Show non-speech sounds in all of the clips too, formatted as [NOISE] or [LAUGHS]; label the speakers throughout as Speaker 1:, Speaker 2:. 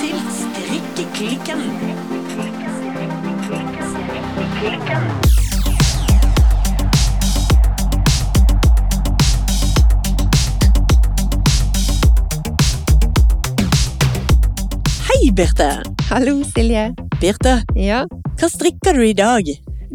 Speaker 1: til Strikkeklikken. Hei, Birte.
Speaker 2: Hallo, Silje.
Speaker 1: Birte,
Speaker 2: Ja,
Speaker 1: hva strikker du i dag?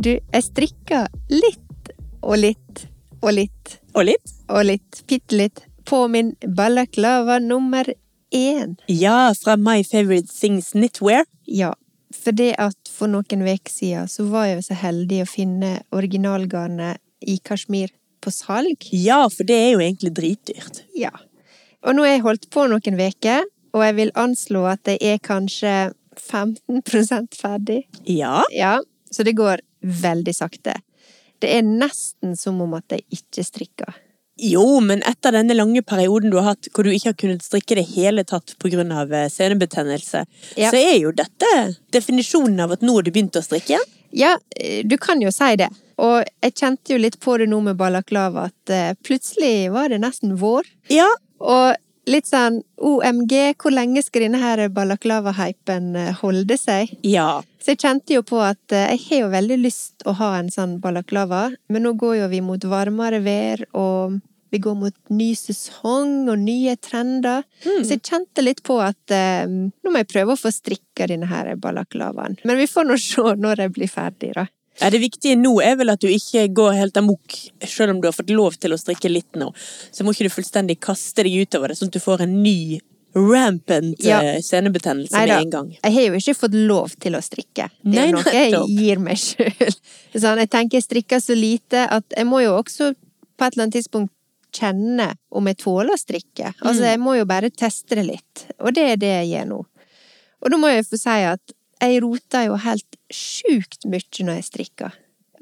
Speaker 2: du, jeg strikker litt og litt og litt
Speaker 1: Og litt?
Speaker 2: og litt, bitte litt, på min balaklava nummer én.
Speaker 1: Ja, fra My Favorite Things Knitwear.
Speaker 2: Ja, for det at for noen uker siden så var jeg så heldig å finne originalgarnet i kasjmir på salg.
Speaker 1: Ja, for det er jo egentlig dritdyrt.
Speaker 2: Ja. Og nå har jeg holdt på noen uker, og jeg vil anslå at jeg er kanskje 15 ferdig.
Speaker 1: Ja.
Speaker 2: Ja, så det går veldig sakte. Det er nesten som om at jeg ikke strikker.
Speaker 1: Jo, men etter denne lange perioden du har hatt, hvor du ikke har kunnet strikke det hele tatt pga. eh, senebetennelse,
Speaker 2: Ja.
Speaker 1: så er jo dette definisjonen av at nå har du begynt å strikke.
Speaker 2: Ja, eh, du kan jo si det. Og jeg kjente jo litt på det nå med balaklava, at eh, plutselig var det nesten vår.
Speaker 1: Ja,
Speaker 2: Og litt sånn OMG, hvor lenge skal denne her balaklava-hypen eh, holde seg?
Speaker 1: ja.
Speaker 2: Så jeg kjente jo på at eh, jeg har jo veldig lyst å ha en sånn balaklava, men nå går jo vi mot varmere vær, og vi går mot ny sesong og nye trender. Så jeg kjente litt på at eh, nå må jeg prøve å få strikka denne her balaklavaen. Men vi får nå [LAUGHS] se når jeg blir ferdig, da.
Speaker 1: Ja, Det viktige nå er vel at du ikke går helt amok, selv om du har fått lov til å strikke litt nå. Så må ikke du fullstendig kaste deg utover det, sånn at du får en ny rampant
Speaker 2: Ja.
Speaker 1: eh, senebetennelse med
Speaker 2: Neida,
Speaker 1: en gang.
Speaker 2: Jeg har jo ikke fått lov til å strikke. Det
Speaker 1: Nei,
Speaker 2: er noe
Speaker 1: nettopp.
Speaker 2: jeg gir meg sjøl. Sånn, jeg tenker jeg strikker så lite at jeg må jo også på et eller annet tidspunkt kjenne om jeg tåler å strikke. Altså, jeg må jo bare teste det litt. Og det er det jeg gjør nå. Og da må jeg få si at jeg roter jo helt sjukt mye når jeg strikker.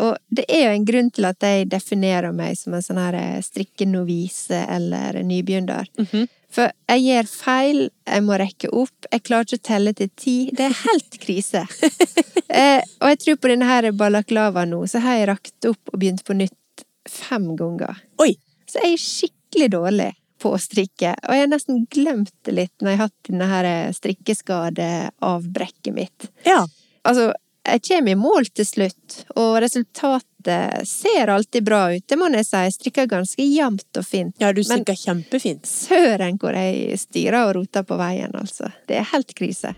Speaker 2: Og det er jo en grunn til at jeg definerer meg som en sånn her eh, strikkenovise eller nybegynner. For jeg gjør feil, jeg må rekke opp, jeg klarer ikke å telle til ti. Det er helt krise. eh, og jeg tror på denne her balaklava nå, så har jeg rakt opp og begynt på nytt fem ganger.
Speaker 1: Oi!
Speaker 2: Så jeg er skikkelig dårlig på å strikke, og jeg har nesten glemt det litt når jeg har hatt denne her eh, strikkeskadeavbrekket mitt.
Speaker 1: Ja.
Speaker 2: Altså, jeg kommer i mål til slutt, og resultatet ser alltid bra ut, det må jeg si. Jeg strikker ganske jevnt og fint.
Speaker 1: ja, du
Speaker 2: Men-
Speaker 1: strikker kjempefint.
Speaker 2: Søren hvor jeg styrer og roter på veien, altså. Det er helt krise.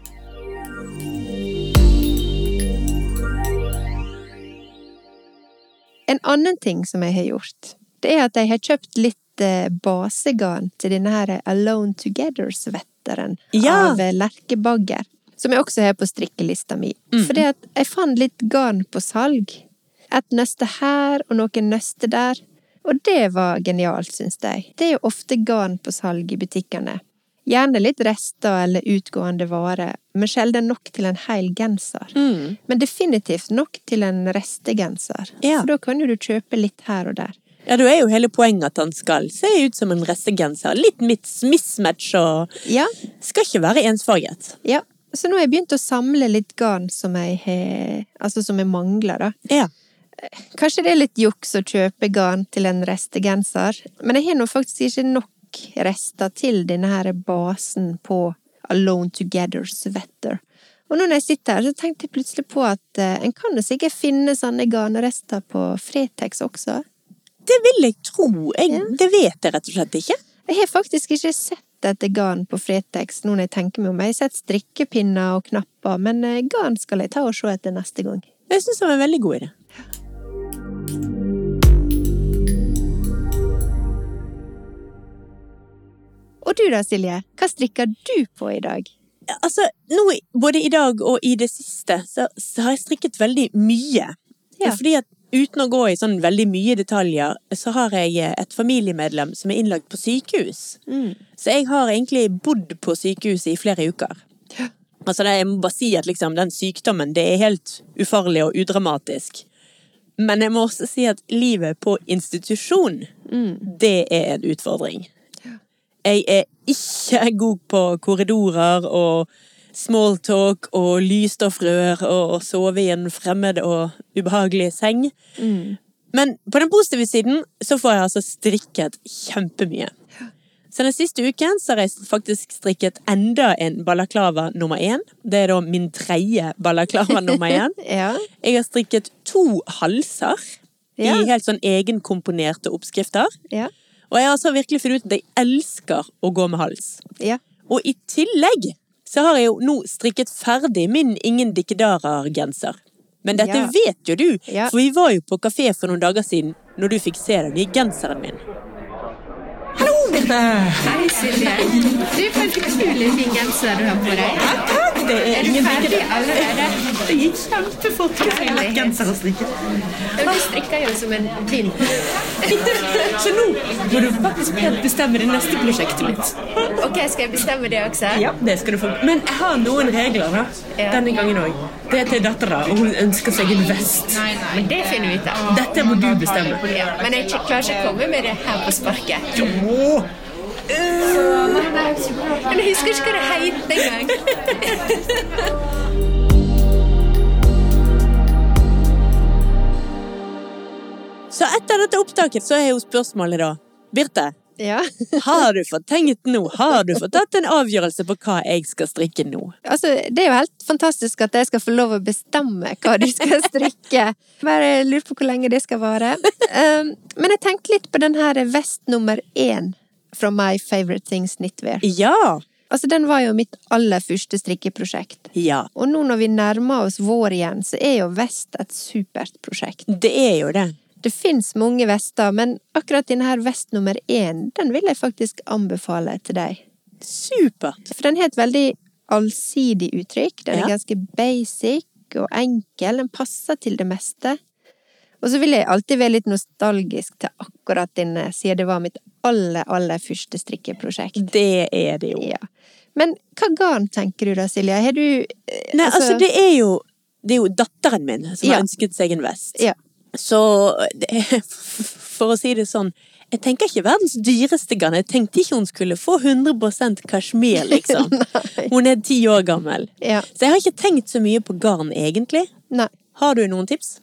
Speaker 2: En annen ting som jeg har gjort, det er at jeg har kjøpt litt eh, basegarn til denne her Alone Together-svetteren
Speaker 1: Ja.
Speaker 2: av eh, Lerke Bagger. Som jeg også har på strikkelista mi. Fordi at jeg fant litt garn på salg. Et nøste her og noen nøster der. Og det var genialt, syns jeg. Det er jo ofte garn på salg i butikkene. Gjerne litt rester eller utgående vare, men sjelden nok til en hel genser.
Speaker 1: Mm.
Speaker 2: Men definitivt nok til en restegenser.
Speaker 1: Ja.
Speaker 2: For da kan jo du kjøpe litt her og der.
Speaker 1: Ja, da er jo hele poenget at han skal se ut som en restegenser. Litt mis- mismatch og
Speaker 2: Ja,
Speaker 1: skal ikke være ensfarget.
Speaker 2: ja. Så nå har jeg begynt å samle litt garn som jeg, har- altså som jeg mangler, da.
Speaker 1: Ja.
Speaker 2: Kanskje det er litt juks å kjøpe garn til en restegenser, men jeg har nå faktisk ikke nok rester til denne her basen på Alone Together Sweater. Og nå når jeg sitter her, så tenkte jeg plutselig på at eh, en kan jo sikkert finne sånne garnrester på Fretex også.
Speaker 1: Det vil jeg tro. Jeg, Det vet jeg rett og slett ikke.
Speaker 2: Jeg har faktisk ikke sett etter garn på Fretex nå når jeg tenker meg om. Jeg har sett strikkepinner og knapper, men eh, garn skal jeg ta og se etter neste gang.
Speaker 1: Jeg syns det var en veldig god idé.
Speaker 2: Og du da, Silje? Hva strikker du på i dag?
Speaker 1: Altså, nå, i- både i dag og i det siste, så, så har jeg strikket veldig mye.
Speaker 2: Ja.
Speaker 1: Fordi at uten å gå i sånn veldig mye detaljer, så har jeg eh, et familiemedlem som er innlagt på sykehus. Så jeg har egentlig bodd på sykehuset i flere uker. Altså, det, jeg må bare si at liksom, den sykdommen, det er helt ufarlig og udramatisk. Men jeg må også si at livet på institusjon, det er en utfordring. Jeg er ikke god på korridorer og small talk og lysstoffrør og å sove i en fremmed og ubehagelig seng. Men på den positive siden så får jeg altså strikket kjempemye. Så den siste uken så har jeg faktisk strikket enda en balaklava nummer én. Det er da min tredje balaklava nummer én.
Speaker 2: Ja.
Speaker 1: Jeg har strikket to halser
Speaker 2: Ja.
Speaker 1: i helt sånn egenkomponerte oppskrifter.
Speaker 2: Ja.
Speaker 1: Og jeg har altså virkelig funnet ut at jeg elsker å gå med hals.
Speaker 2: Ja.
Speaker 1: Og i tillegg så har jeg jo nå strikket ferdig min Ingen dikkedarer-genser. Men dette
Speaker 2: Ja.
Speaker 1: vet jo du,
Speaker 2: Ja.
Speaker 1: for vi var jo på kafé for noen dager siden når du fikk se den nye genseren min.
Speaker 3: Hei, Silje. Du for en utrolig fin genser du har på deg. Ja, takk. Det er, du ferdig allerede? Det gikk kjempefort. Genser å strikke. Du strikker jo som en blind.
Speaker 4: [LAUGHS] Så nå må du faktisk helt bestemme det neste prosjektet mitt.
Speaker 3: Ok, skal jeg bestemme det også?
Speaker 4: Ja, [LAUGHS] det skal du få. Men jeg har noen regler da.
Speaker 3: Ja.
Speaker 4: Denne gangen òg. Det er til dattera, og hun ønsker seg en vest.
Speaker 3: Men det finner vi ut av.
Speaker 4: Dette må du bestemme.
Speaker 3: Ja, men jeg klarer ikke å komme med det her på sparket.
Speaker 4: Åh,
Speaker 3: Men jeg husker ikke hva det het engang.
Speaker 1: Så etter dette opptaket så er jo spørsmålet da Birte,
Speaker 2: ja.
Speaker 1: har du fått tenkt nå? Har du fått tatt en avgjørelse på hva jeg skal strikke nå?
Speaker 2: Altså, det er jo helt fantastisk at jeg skal få lov å bestemme hva du skal strikke. Bare lurer på hvor lenge det skal vare. Um, men jeg tenkte litt på den her vest nummer én fra My Favorite Things Knitwear.
Speaker 1: Ja.
Speaker 2: Altså, den var jo mitt aller første strikkeprosjekt.
Speaker 1: Ja.
Speaker 2: Og nå når vi nærmer oss vår igjen, så er jo vest et supert prosjekt.
Speaker 1: Det er jo det.
Speaker 2: Det fins mange vester, men akkurat denne her vest nummer én, den vil jeg faktisk anbefale til deg.
Speaker 1: Supert.
Speaker 2: For den har et veldig allsidig uttrykk. Den er
Speaker 1: Ja.
Speaker 2: ganske basic og enkel. Den passer til det meste. Og så vil jeg alltid være litt nostalgisk til akkurat denne, siden det var mitt aller, aller første strikkeprosjekt.
Speaker 1: Det er det jo.
Speaker 2: Ja. Men hva garn tenker du da, Silja? Har du eh,
Speaker 1: Nei, altså, det er jo Det er jo datteren min som
Speaker 2: Ja.
Speaker 1: har ønsket seg en vest.
Speaker 2: Ja.
Speaker 1: Så det, [LAUGHS] For å si det sånn Jeg tenker ikke verdens dyreste garn. Jeg tenkte ikke hun skulle få 100 kasjmir,
Speaker 2: [LAUGHS]
Speaker 1: liksom. hun er ti år gammel.
Speaker 2: Ja.
Speaker 1: Så jeg har ikke tenkt så mye på garn, egentlig.
Speaker 2: Nei.
Speaker 1: Har du noen tips?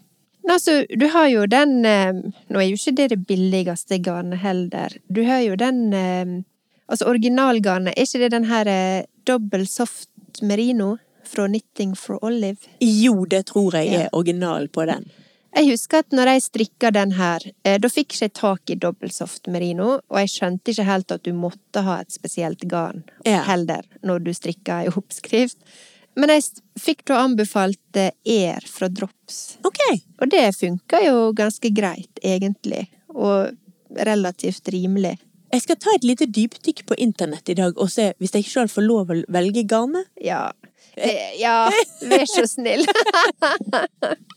Speaker 2: Nei, altså, du har jo den eh, Nå er jo ikke det det billigste garnet heller. Du har jo den eh, Altså, originalgarnet, er ikke det den her eh, dobbel soft merino fra Knitting for Olive?
Speaker 1: Jo, det tror jeg
Speaker 2: Ja.
Speaker 1: er original på den.
Speaker 2: Jeg husker at når jeg strikka den her, eh, da fikk ikke jeg tak i dobbeltsoft merino, og jeg skjønte ikke helt at du måtte ha et spesielt garn
Speaker 1: Ja.
Speaker 2: heller når du strikka i oppskrift. Men jeg s- fikk da anbefalt eh, ER fra Drops,
Speaker 1: Ok.
Speaker 2: og det funka jo ganske greit, egentlig, og relativt rimelig.
Speaker 1: Jeg skal ta et lite dypdykk på internett i dag og se hvis jeg sjøl får lov å velge garnet.
Speaker 2: Ja. Eh, Ja, vær så snill. [LAUGHS]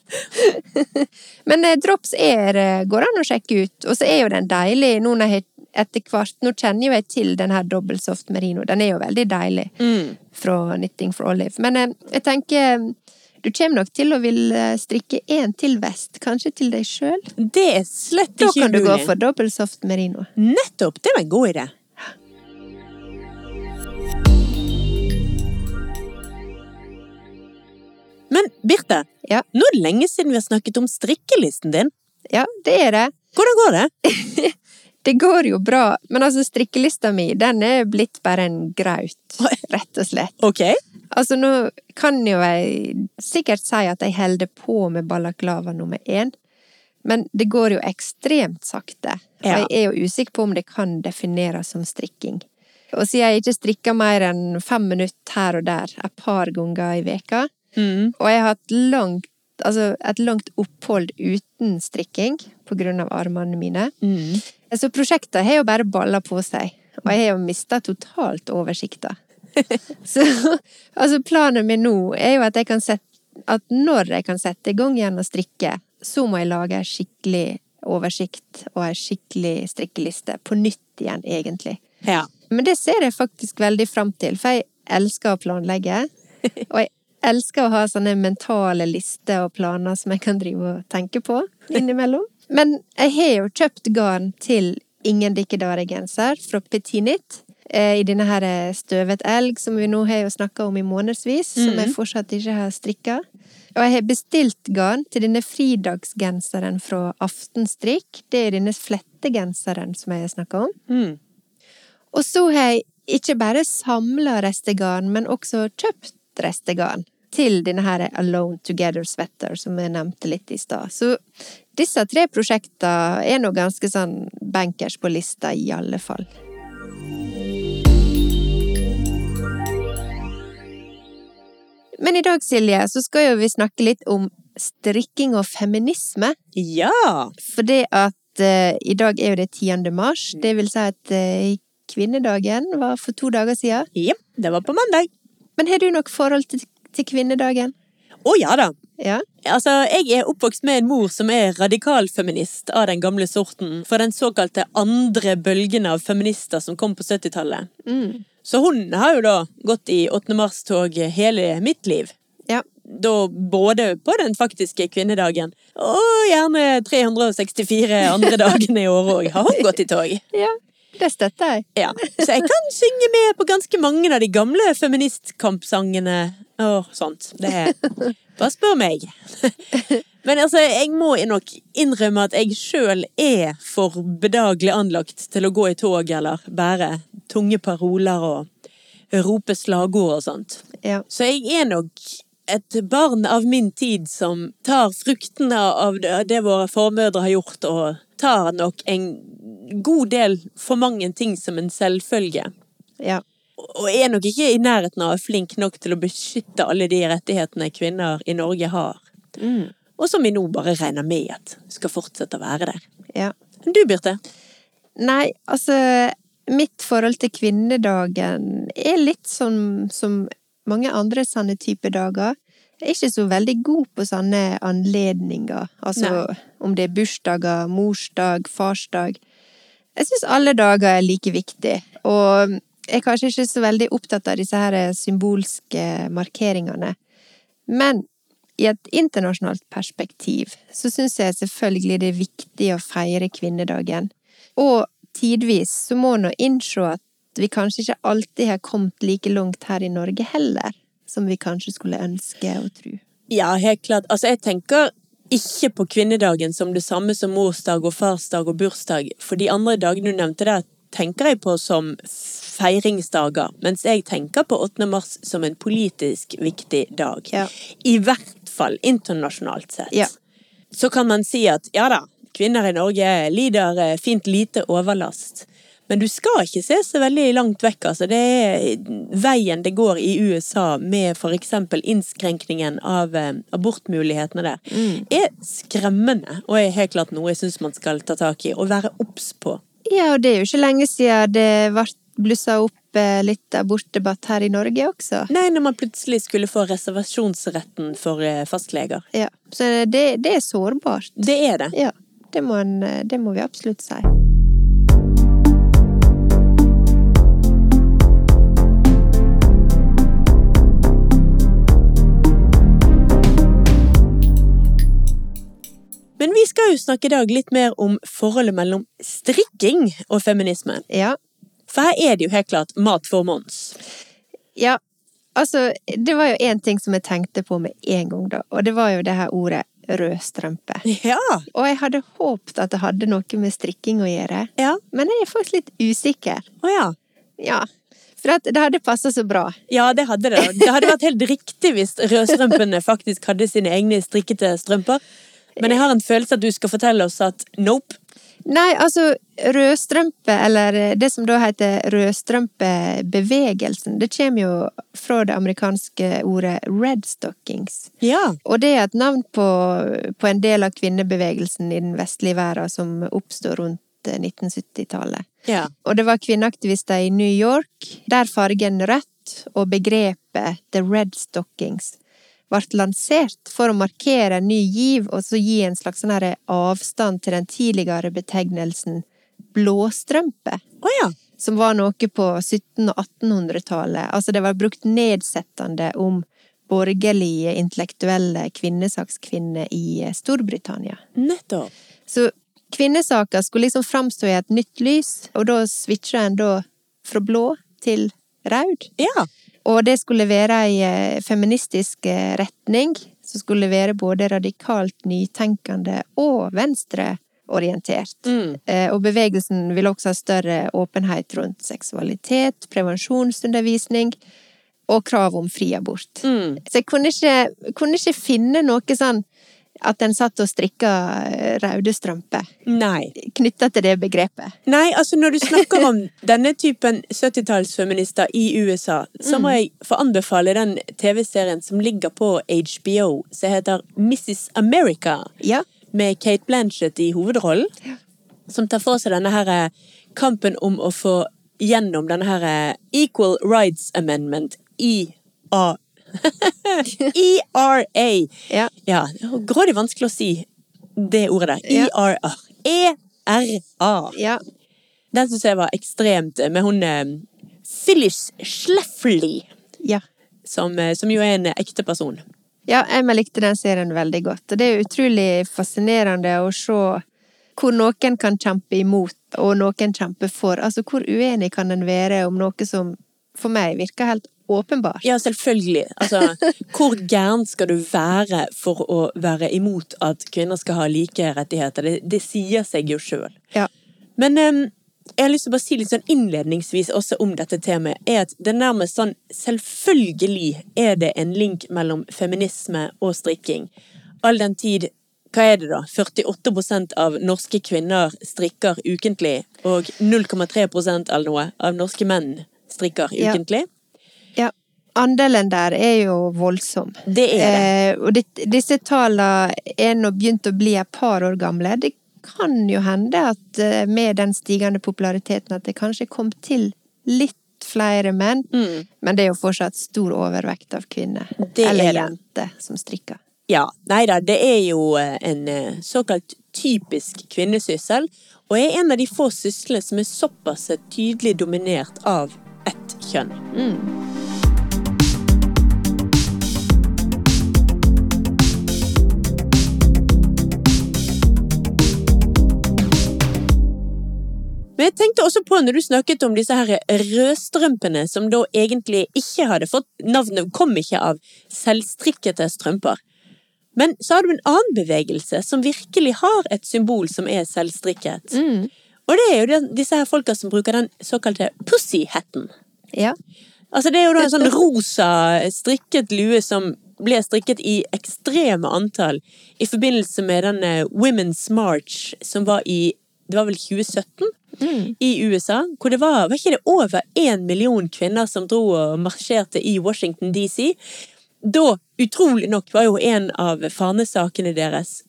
Speaker 2: Men eh, drops er eh, går an å sjekke ut, og så er jo den deilig nå når jeg etter hvert Nå kjenner jo jeg til den her dobbel soft merino, den er jo veldig deilig fra Knitting for Olive. Men eh, jeg tenker eh, du kommer nok til å vil eh, strikke én til vest, kanskje til deg sjøl.
Speaker 1: Det er slett
Speaker 2: Da
Speaker 1: ikke
Speaker 2: kan du gå
Speaker 1: umulig.
Speaker 2: for dobbel soft merino.
Speaker 1: Nettopp! Det var en god idé. Men Birte,
Speaker 2: Ja.
Speaker 1: nå er det lenge siden vi har snakket om strikkelisten din.
Speaker 2: Ja, det er det.
Speaker 1: Hvordan går det?
Speaker 2: Det går jo bra, men altså strikkelista mi, den er blitt bare en graut, rett og slett.
Speaker 1: Ok.
Speaker 2: Altså, nå kan jo jeg sikkert si at jeg holder på med balaklava nummer én, men det går jo ekstremt sakte.
Speaker 1: Ja.
Speaker 2: Og jeg er jo usikker på om det kan defineres som strikking. Og siden jeg ikke strikker mer enn fem minutter her og der et par ganger i veka, og jeg har hatt langt, altså et langt opphold uten strikking på grunn av armene mine,
Speaker 1: Mm.
Speaker 2: så Altså, prosjektet har jo bare balla på seg. Og jeg har jo mista totalt oversikta. [LAUGHS] Så altså planen min nå er jo at jeg kan sette at når jeg kan sette i gang igjen og strikke, så må jeg lage en skikkelig oversikt og en skikkelig strikkeliste på nytt igjen, egentlig.
Speaker 1: Ja.
Speaker 2: Men det ser jeg faktisk veldig fram til, for jeg elsker å planlegge. Og jeg elsker å ha sånne mentale lister og planer som jeg kan drive og tenke på innimellom. Men jeg har jo kjøpt garn til Ingen dikkedare-genser fra Petinit. eh, I denne her eh, støvet elg, som vi nå har jo snakka om i månedsvis, som jeg fortsatt ikke har strikka. Og jeg har bestilt garn til denne fridagsgenseren fra Aftenstrikk. Det er denne flettegenseren som jeg har snakka om. Og så har jeg ikke bare samla restegarn, men også kjøpt restegarn til denne her Alone Together Sweater, som jeg nevnte litt i stad. Så disse tre prosjektene er nå ganske sånn bankers på lista, i alle fall. Men i dag, Silje, så skal jo vi snakke litt om strikking og feminisme.
Speaker 1: Ja!
Speaker 2: Fordi at eh, i dag er jo det 10. mars, det vil si at eh, kvinnedagen var for to dager siden.
Speaker 1: Jepp, det var på mandag.
Speaker 2: Men har du nok forhold til, til kvinnedagen?
Speaker 1: Å ja da.
Speaker 2: Ja?
Speaker 1: Altså, jeg er oppvokst med en mor som er radikalfeminist av den gamle sorten, fra den såkalte andre bølgen av feminister som kom på 70-tallet. Så hun har jo da gått i 8. mars-tog hele mitt liv.
Speaker 2: Ja.
Speaker 1: Da både på den faktiske kvinnedagen, og gjerne 364 andre dagene i året òg, har hun gått i tog.
Speaker 2: ja. Det støtter jeg.
Speaker 1: Ja, så jeg kan synge med på ganske mange av de gamle feministkampsangene og sånt. Det er Bare spør meg. Men altså, jeg må nok innrømme at jeg sjøl er for bedagelig anlagt til å gå i tog eller bære tunge paroler og rope slagord og sånt.
Speaker 2: Ja.
Speaker 1: Så jeg er nok et barn av min tid som tar fruktene av det det våre formødre har gjort, og tar nok en god del for mange ting som en selvfølge.
Speaker 2: ja.
Speaker 1: Og er nok ikke i nærheten av flink nok til å beskytte alle de rettighetene kvinner i Norge har. Og som vi nå bare regner med at skal fortsette å være der.
Speaker 2: ja.
Speaker 1: Men Du, Birte?
Speaker 2: Nei, altså Mitt forhold til kvinnedagen er litt sånn som mange andre sånne type dager. Jeg er ikke så veldig god på sånne anledninger. Altså om det er bursdager, morsdag, farsdag. Jeg syns alle dager er like viktig. Og jeg er kanskje ikke så veldig opptatt av disse her symbolske markeringene. Men i et internasjonalt perspektiv så syns jeg selvfølgelig det er viktig å feire kvinnedagen. Og tidvis så må en nå innse at vi kanskje ikke alltid har kommet like langt her i Norge heller, som vi kanskje skulle ønske og tro.
Speaker 1: Ja, helt klart. Altså, jeg tenker ikke på kvinnedagen som det samme som morsdag og farsdag og bursdag, for de andre dagene du nevnte der, tenker jeg på som feiringsdager, mens jeg tenker på 8. mars som en politisk viktig dag.
Speaker 2: Ja.
Speaker 1: I hvert fall internasjonalt sett.
Speaker 2: Ja.
Speaker 1: Så kan man si at ja da, kvinner i Norge lider eh, fint lite overlast. Men du skal ikke se så veldig langt vekk, altså. Det er veien det går i USA med for eksempel innskrenkningen av eh, abortmulighetene der, er skremmende, og er helt klart noe jeg syns man skal ta tak i og være obs på.
Speaker 2: Ja, og det er jo ikke lenge siden det ble blussa opp eh, litt abortdebatt her i Norge også.
Speaker 1: Nei, når man plutselig skulle få reservasjonsretten for eh, fastleger.
Speaker 2: Ja, Så det, det er sårbart.
Speaker 1: Det er det.
Speaker 2: Ja, det må, en, eh, det må vi absolutt si.
Speaker 1: Men vi skal jo snakke i dag litt mer om forholdet mellom strikking og feminisme.
Speaker 2: Ja.
Speaker 1: For her er det jo helt klart mat for mons.
Speaker 2: ja. Altså, det var jo én ting som jeg tenkte på med en gang, da, og det var jo det her ordet rødstrømpe.
Speaker 1: Ja.
Speaker 2: Og jeg hadde håpet at det hadde noe med strikking å gjøre,
Speaker 1: Ja.
Speaker 2: men jeg er faktisk litt usikker.
Speaker 1: Å ja.
Speaker 2: Ja. For at det hadde passa så bra.
Speaker 1: Ja, det hadde det. Det hadde vært helt riktig hvis rødstrømpene faktisk hadde sine egne strikkete strømper. Men jeg har en følelse at du skal fortelle oss at nope.
Speaker 2: Nei, altså, rødstrømpe, eller det som da heter rødstrømpebevegelsen, det kommer jo fra det amerikanske ordet red stockings.
Speaker 1: Ja.
Speaker 2: Og det er et navn på, på en del av kvinnebevegelsen i den vestlige verden som oppstod rundt eh, 1970-tallet.
Speaker 1: Ja.
Speaker 2: Og det var kvinneaktivister i New York der fargen rødt og begrepet The Red Stockings ble lansert for å markere en ny giv og så gi en slags sånn her avstand til den tidligere betegnelsen blåstrømpe
Speaker 1: Å ja.
Speaker 2: som var noe på 1700- og 1800-tallet. Altså, det var brukt nedsettende om borgerlige, intellektuelle kvinnesakskvinner i eh, Storbritannia.
Speaker 1: Nettopp.
Speaker 2: Så kvinnesaker skulle liksom framstå i et nytt lys, og da switcha en da fra blå til rød.
Speaker 1: Ja.
Speaker 2: Og det skulle være ei eh, feministisk eh, retning som skulle være både radikalt nytenkende og venstre orientert. Eh, Og bevegelsen vil også ha større åpenhet rundt seksualitet, prevensjonsundervisning og krav om fri abort. Så jeg kunne ikke, kunne ikke finne noe sånn at en satt og strikka eh, røde strømper
Speaker 1: Nei.
Speaker 2: knytta til det begrepet.
Speaker 1: Nei, altså når du snakker om denne typen 70-tallsfeminister i USA, så må jeg få anbefale den TV-serien som ligger på HBO, som heter Mrs. America,
Speaker 2: Ja.
Speaker 1: med Kate Blanchett i hovedrollen, som tar for seg denne her eh, kampen om å få gjennom denne her eh, Equal Rights Amendment, E [LAUGHS] IA. ERA.
Speaker 2: Ja.
Speaker 1: ja. Grådig vanskelig å si det ordet
Speaker 2: Ja.
Speaker 1: der. E ERA. E-R-A.
Speaker 2: Ja.
Speaker 1: E Den syns jeg var ekstremt eh, med hun eh, Phyllis Schleffley,
Speaker 2: Ja.
Speaker 1: som, eh, som jo er en ekte person.
Speaker 2: Ja, jeg likte den serien veldig godt. Og det er utrolig fascinerende å se hvor noen kan kjempe imot, og noen kjemper for. Altså, hvor uenig kan en være om noe som for meg virker helt åpenbart?
Speaker 1: Ja, selvfølgelig. Altså, hvor gæren skal du være for å være imot at kvinner skal ha like rettigheter? Det, det sier seg jo sjøl.
Speaker 2: Ja.
Speaker 1: Men eh, jeg har lyst til å bare si litt sånn innledningsvis også om dette temaet, er at det nærmest sånn Selvfølgelig er det en link mellom feminisme og strikking. All den tid hva er det da? 48 av norske kvinner strikker ukentlig, og 0,3 eller noe av norske menn strikker
Speaker 2: Ja.
Speaker 1: ukentlig.
Speaker 2: Ja. Andelen der er jo voldsom.
Speaker 1: Det er det.
Speaker 2: Eh, og dit, disse tallene er nå begynt å bli et par år gamle. Det kan jo hende at eh, med den stigende populariteten at det kanskje kom til litt flere menn, men det er jo fortsatt stor overvekt av kvinner
Speaker 1: Mm. Det
Speaker 2: eller
Speaker 1: er det.
Speaker 2: jenter som strikker.
Speaker 1: Ja, nei da, det er jo eh, en eh, såkalt typisk kvinnesyssel, og er en av de få syslene som er såpass tydelig dominert av ett kjønn. Men jeg tenkte også på når du snakket om disse her rødstrømpene, som da egentlig ikke hadde fått navnet, kom ikke av selvstrikkete strømper. Men så har du en annen bevegelse som virkelig har et symbol som er selvstrikket. Og det er jo den, disse her folka som bruker den såkalte pussyhatten.
Speaker 2: Ja.
Speaker 1: Altså det er jo da en sånn rosa strikket lue som ble strikket i ekstreme antall i forbindelse med den eh, Women's March som var i det var vel 2017 i USA, hvor det var, var ikke det over én million kvinner som dro og marsjerte i Washington DC. Da, utrolig nok, var jo en av fanesakene deres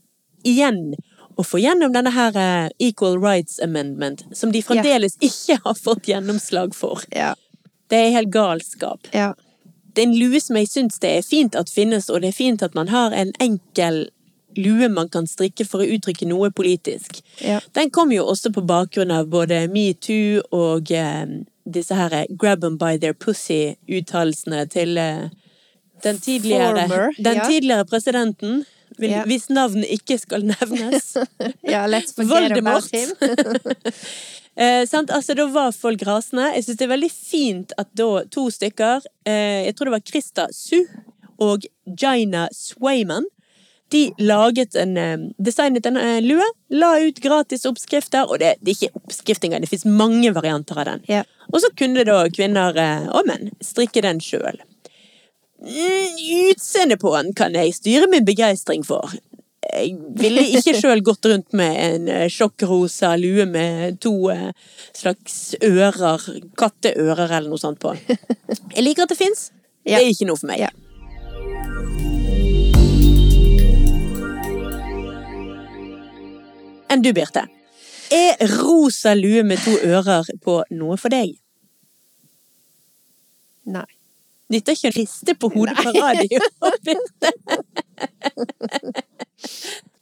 Speaker 1: igjen å få gjennom denne her eh, Equal Rights Amendment, som de fremdeles ikke har fått gjennomslag for.
Speaker 2: Ja.
Speaker 1: Det er helt galskap.
Speaker 2: ja.
Speaker 1: [LAUGHS] Det er en lue som jeg syns det er fint at finnes, og det er fint at man har en enkel lue man kan strikke for å uttrykke noe politisk.
Speaker 2: Ja.
Speaker 1: Den kom jo også på bakgrunn av både metoo og eh, disse her eh, grab them by their pussy-uttalelsene til eh, den, tidligere,
Speaker 2: Former,
Speaker 1: den
Speaker 2: ja.
Speaker 1: tidligere presidenten, vil-
Speaker 2: Ja.
Speaker 1: hvis navn ikke skal [LAUGHS] nevnes.
Speaker 2: ja let's forget
Speaker 1: Voldemort.
Speaker 2: about him.
Speaker 1: Eh, sant? Altså, da var folk rasende. Jeg syns det er veldig fint at da to stykker, eh, jeg tror det var Krista Su og Gina Swayman, de laget en, eh, designet en eh, lue, la ut gratis oppskrifter, og det, det er ikke oppskrift engang, det fins mange varianter av den.
Speaker 2: Ja.
Speaker 1: Og så kunne da kvinner eh, og menn strikke den sjøl. Mm, Utseendet på den kan jeg styre min begeistring for. Jeg ville
Speaker 2: [LAUGHS]
Speaker 1: ikke sjøl gått rundt med en eh, sjokkrosa lue med to eh, slags ører, katteører eller noe sånt på. Jeg liker at det fins.
Speaker 2: Ja.
Speaker 1: Det er ikke noe for meg.
Speaker 2: Ja.
Speaker 1: Enn du, Birte. Er rosa lue med to ører på noe for deg?
Speaker 2: Nei.
Speaker 1: Nytter ikke å riste på hodet på [LAUGHS] radio. Birte.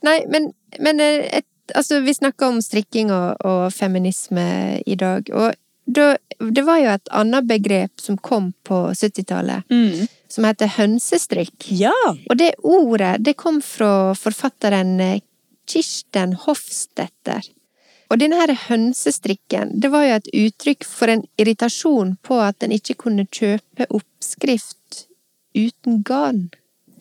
Speaker 2: Nei, men, men eh, et, altså, vi snakker om strikking og, og feminisme i dag, og da, det var jo et annet begrep som kom på 70-tallet, som heter hønsestrikk.
Speaker 1: Mm. Ja.
Speaker 2: Og det ordet, det kom fra forfatteren eh, Kirsten Hofstetter. Og denne her hønsestrikken, det var jo et uttrykk for en irritasjon på at en ikke kunne kjøpe oppskrift uten garn.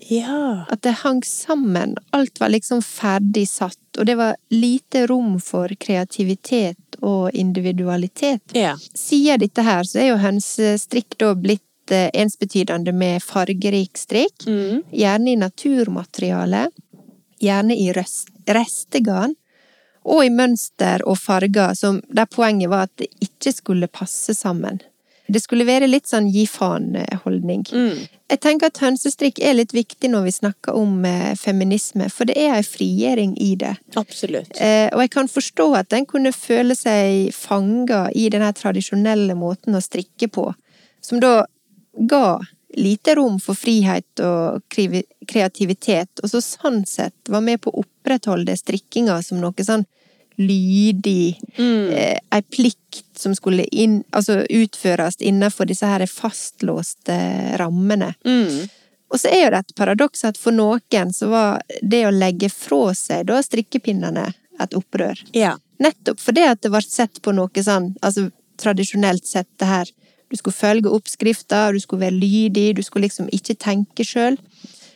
Speaker 1: Ja.
Speaker 2: At det hang sammen. Alt var liksom ferdig satt, og det var lite rom for kreativitet og individualitet.
Speaker 1: ja.
Speaker 2: Sier dette her, så er jo hønsestrikk da blitt eh, ensbetydende med fargerik strikk.
Speaker 1: Mm.
Speaker 2: Gjerne i naturmateriale. Gjerne i røs- restegarn. Og i mønster og farger, som, der poenget var at det ikke skulle passe sammen. Det skulle være litt sånn gi faen-holdning.
Speaker 1: Mm.
Speaker 2: Jeg tenker at hønsestrikk er litt viktig når vi snakker om eh, feminisme, for det er ei frigjøring i det.
Speaker 1: Absolutt.
Speaker 2: Eh, og jeg kan forstå at den kunne føle seg fanga i den her tradisjonelle måten å strikke på, som da ga lite rom for frihet og krivi- kreativitet, og så sånn sett var med på å opprettholde strikkinga som noe sånn lydig, eh, ei plikt som skulle inn, altså utføres innenfor disse her fastlåste rammene.
Speaker 1: Mm.
Speaker 2: Og så er jo det et paradoks at for noen så var det å legge fra seg da strikkepinnene et opprør.
Speaker 1: Ja.
Speaker 2: Nettopp fordi at det ble sett på noe sånn, altså tradisjonelt sett det her Du skulle følge oppskrifta, du skulle være lydig, du skulle liksom ikke tenke sjøl.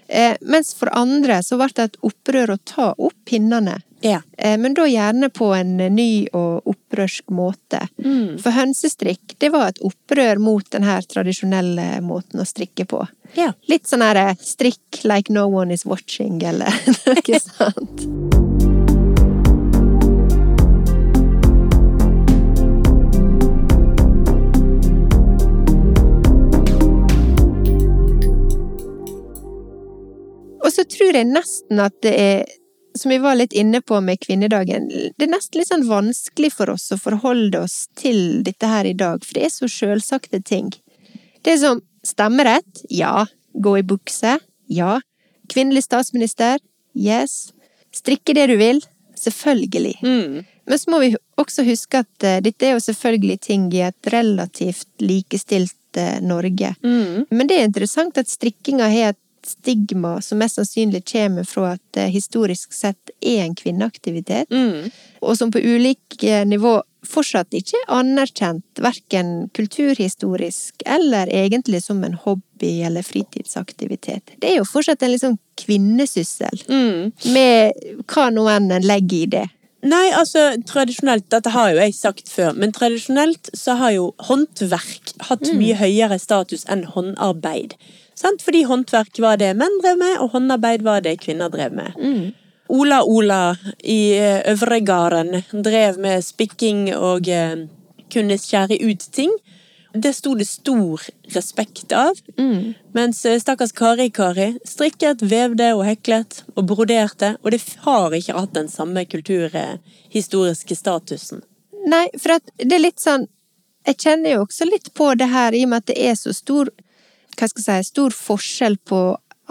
Speaker 2: Eh, mens for andre så ble det et opprør å ta opp pinnene.
Speaker 1: Ja.
Speaker 2: Eh, men da gjerne på en ny og opprørsk måte. For hønsestrikk, det var et opprør mot den her tradisjonelle måten å strikke på.
Speaker 1: Ja.
Speaker 2: Litt sånn her eh, strikk like no one is watching, eller [LAUGHS] noe sånt. Og så tror jeg nesten at det er, som vi var litt inne på med kvinnedagen, det er nesten litt sånn vanskelig for oss å forholde oss til dette her i dag, for det er så sjølsagte ting. Det er som stemmerett, ja. Gå i bukse, ja. Kvinnelig statsminister, yes. Strikke det du vil, selvfølgelig.
Speaker 1: Mm.
Speaker 2: Men så må vi også huske at eh, dette er jo selvfølgelig ting i et relativt likestilt eh, Norge.
Speaker 1: Mm.
Speaker 2: Men det er interessant at strikkinga har et stigma som mest sannsynlig kommer fra at det historisk sett er en kvinneaktivitet,
Speaker 1: Mm.
Speaker 2: og som på ulike nivå fortsatt ikke er anerkjent, verken kulturhistorisk eller egentlig som en hobby eller fritidsaktivitet. Det er jo fortsatt en liksom kvinnesyssel, med hva nå enn en legger i det.
Speaker 1: Nei, altså tradisjonelt, dette har jo jeg sagt før, men tradisjonelt så har jo håndverk hatt mye høyere status enn håndarbeid. Sant? Fordi håndverk var det menn drev med, og håndarbeid var det kvinner drev med. Ola Ola i eh, Øvregarden drev med spikking og eh, kunne skjære ut ting. Det sto det stor respekt av. Mens eh, stakkars Kari-Kari strikket, vevde og heklet og broderte, og det har ikke hatt den samme kulturhistoriske statusen.
Speaker 2: Nei, for at det er litt sånn Jeg kjenner jo også litt på det her, i og med at det er så stor Hva skal jeg si Stor forskjell på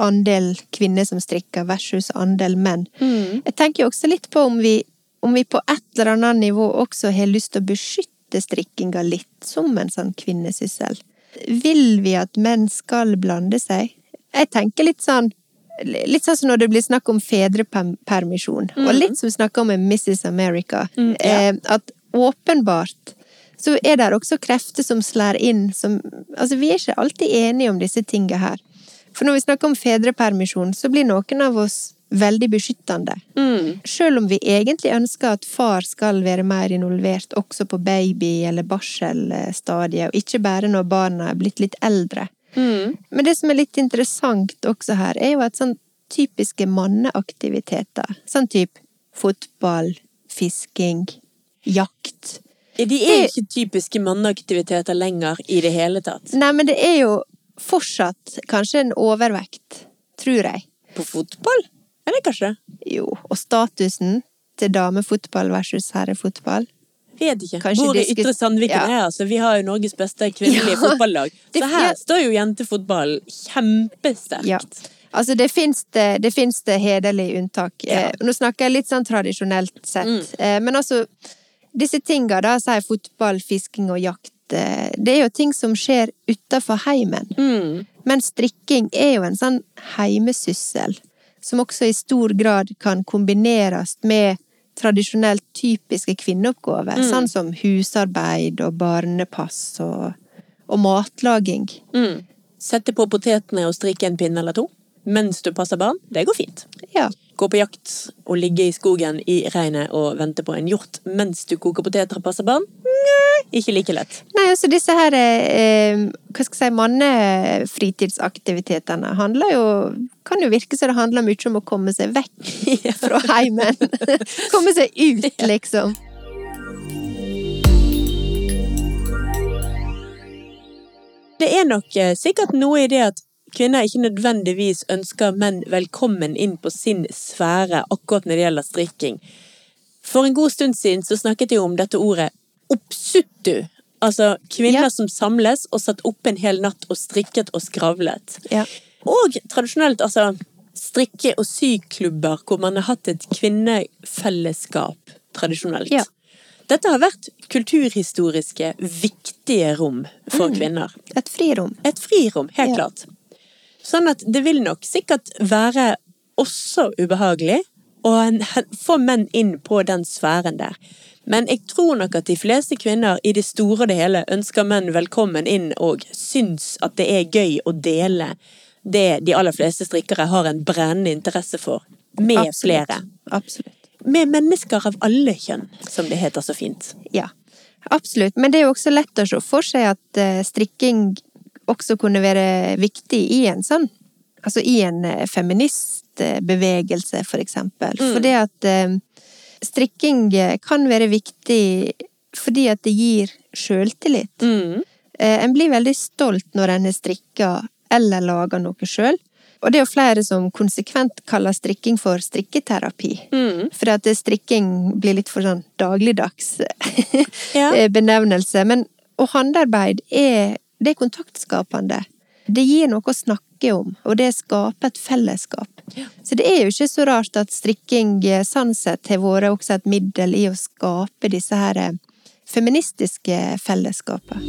Speaker 2: andel kvinner som strikker versus andel menn. Jeg tenker jo også litt på om vi, om vi på et eller annet nivå også har lyst til å beskytte strikkinga litt som en sånn kvinnesyssel. Vil vi at menn skal blande seg? Jeg tenker litt sånn Litt sånn som når det blir snakk om fedrepermisjon, og litt som vi snakker om med Mrs. America. eh, at åpenbart så er det også krefter som slår inn som Altså, vi er ikke alltid enige om disse tinga her. For når vi snakker om fedrepermisjon, så blir noen av oss veldig beskyttende. Sjøl om vi egentlig ønsker at far skal være mer involvert også på baby- eller barselstadiet, og ikke bare når barna er blitt litt eldre. Men det som er litt interessant også her, er jo at sånn typiske manneaktiviteter, sånn type fotball, fisking, jakt
Speaker 1: De er ikke typiske manneaktiviteter lenger i det hele tatt.
Speaker 2: Nei, men det er jo fortsatt kanskje en overvekt, tror jeg.
Speaker 1: På fotball? Er det kanskje det?
Speaker 2: Jo, og statusen til damefotball versus herrefotball
Speaker 1: Vet ikke.
Speaker 2: Kanskje
Speaker 1: Hvor i
Speaker 2: diskus-
Speaker 1: Ytre Sandviken
Speaker 2: Ja.
Speaker 1: er, altså. Vi har jo Norges beste kvinnelige
Speaker 2: [LAUGHS] Ja.
Speaker 1: fotballag.
Speaker 2: Det-
Speaker 1: Så her
Speaker 2: ja.
Speaker 1: står jo jentefotballen kjempesterkt.
Speaker 2: Ja. Altså, det fins det, det, finnes det hederlige unntak.
Speaker 1: Ja.
Speaker 2: Eh, nå snakker jeg litt sånn tradisjonelt sett. Eh, men altså, disse tinga, da, sier fotball, fisking og jakt, eh, det er jo ting som skjer utafor heimen.
Speaker 1: Mm.
Speaker 2: Men strikking er jo en sånn heimesyssel, som også i stor grad kan kombineres med tradisjonelt typiske kvinneoppgaver, sånn som husarbeid og barnepass og, og matlaging.
Speaker 1: Mm. Sette på potetene og strikke en pinne eller to. mens du passer barn, det går fint.
Speaker 2: Ja.
Speaker 1: Gå på jakt og ligge i skogen i regnet og vente på en hjort mens du koker poteter og passer barn? Nei, ikke like lett.
Speaker 2: Nei, altså disse her eh, hva skal jeg si, mannefritidsaktivitetene handler jo Kan jo virke som det handler mye om å komme seg vekk fra heimen. komme seg ut, liksom.
Speaker 1: Det er nok eh, sikkert noe i det at kvinner ikke nødvendigvis ønsker menn velkommen inn på sin sfære akkurat når det gjelder strikking. For en god stund siden så snakket jeg om dette ordet oppsuttu. Altså kvinner
Speaker 2: Ja.
Speaker 1: som samles og satt opp en hel natt og strikket og skravlet.
Speaker 2: Ja.
Speaker 1: Og tradisjonelt, altså strikke- og syklubber hvor man har hatt et kvinnefellesskap tradisjonelt.
Speaker 2: Ja.
Speaker 1: Dette har vært kulturhistoriske viktige rom for kvinner
Speaker 2: Et frirom.
Speaker 1: et frirom, helt
Speaker 2: Ja.
Speaker 1: klart. Sånn at det vil nok sikkert være også ubehagelig å en- hen- få menn inn på den sfæren der. Men jeg tror nok at de fleste kvinner i det store og det hele ønsker menn velkommen inn og syns at det er gøy å dele det de aller fleste strikkere har en brennende interesse for, med
Speaker 2: Absolutt.
Speaker 1: flere.
Speaker 2: Absolutt.
Speaker 1: Med mennesker av alle kjønn, som det heter så fint.
Speaker 2: Ja, absolutt. Men det er jo også lett å se for seg at eh, strikking også kunne være viktig i en sånn Altså i en eh, feministbevegelse, for eksempel. Fordi at eh, strikking eh, kan være viktig fordi at det gir sjøltillit. Eh, En blir veldig stolt når en har strikka eller laga noe sjøl. Og det er jo flere som konsekvent kaller strikking for strikketerapi. For at det- strikking blir litt for sånn dagligdags [LAUGHS]
Speaker 1: Ja.
Speaker 2: eh, benevnelse. Men og håndarbeid er, det er kontaktskapende. Det gir noe å snakke om, og det skaper et fellesskap. Så det er jo ikke så rart at strikking eh, sånn sett har vært også et middel i å skape disse her eh, feministiske fellesskapene.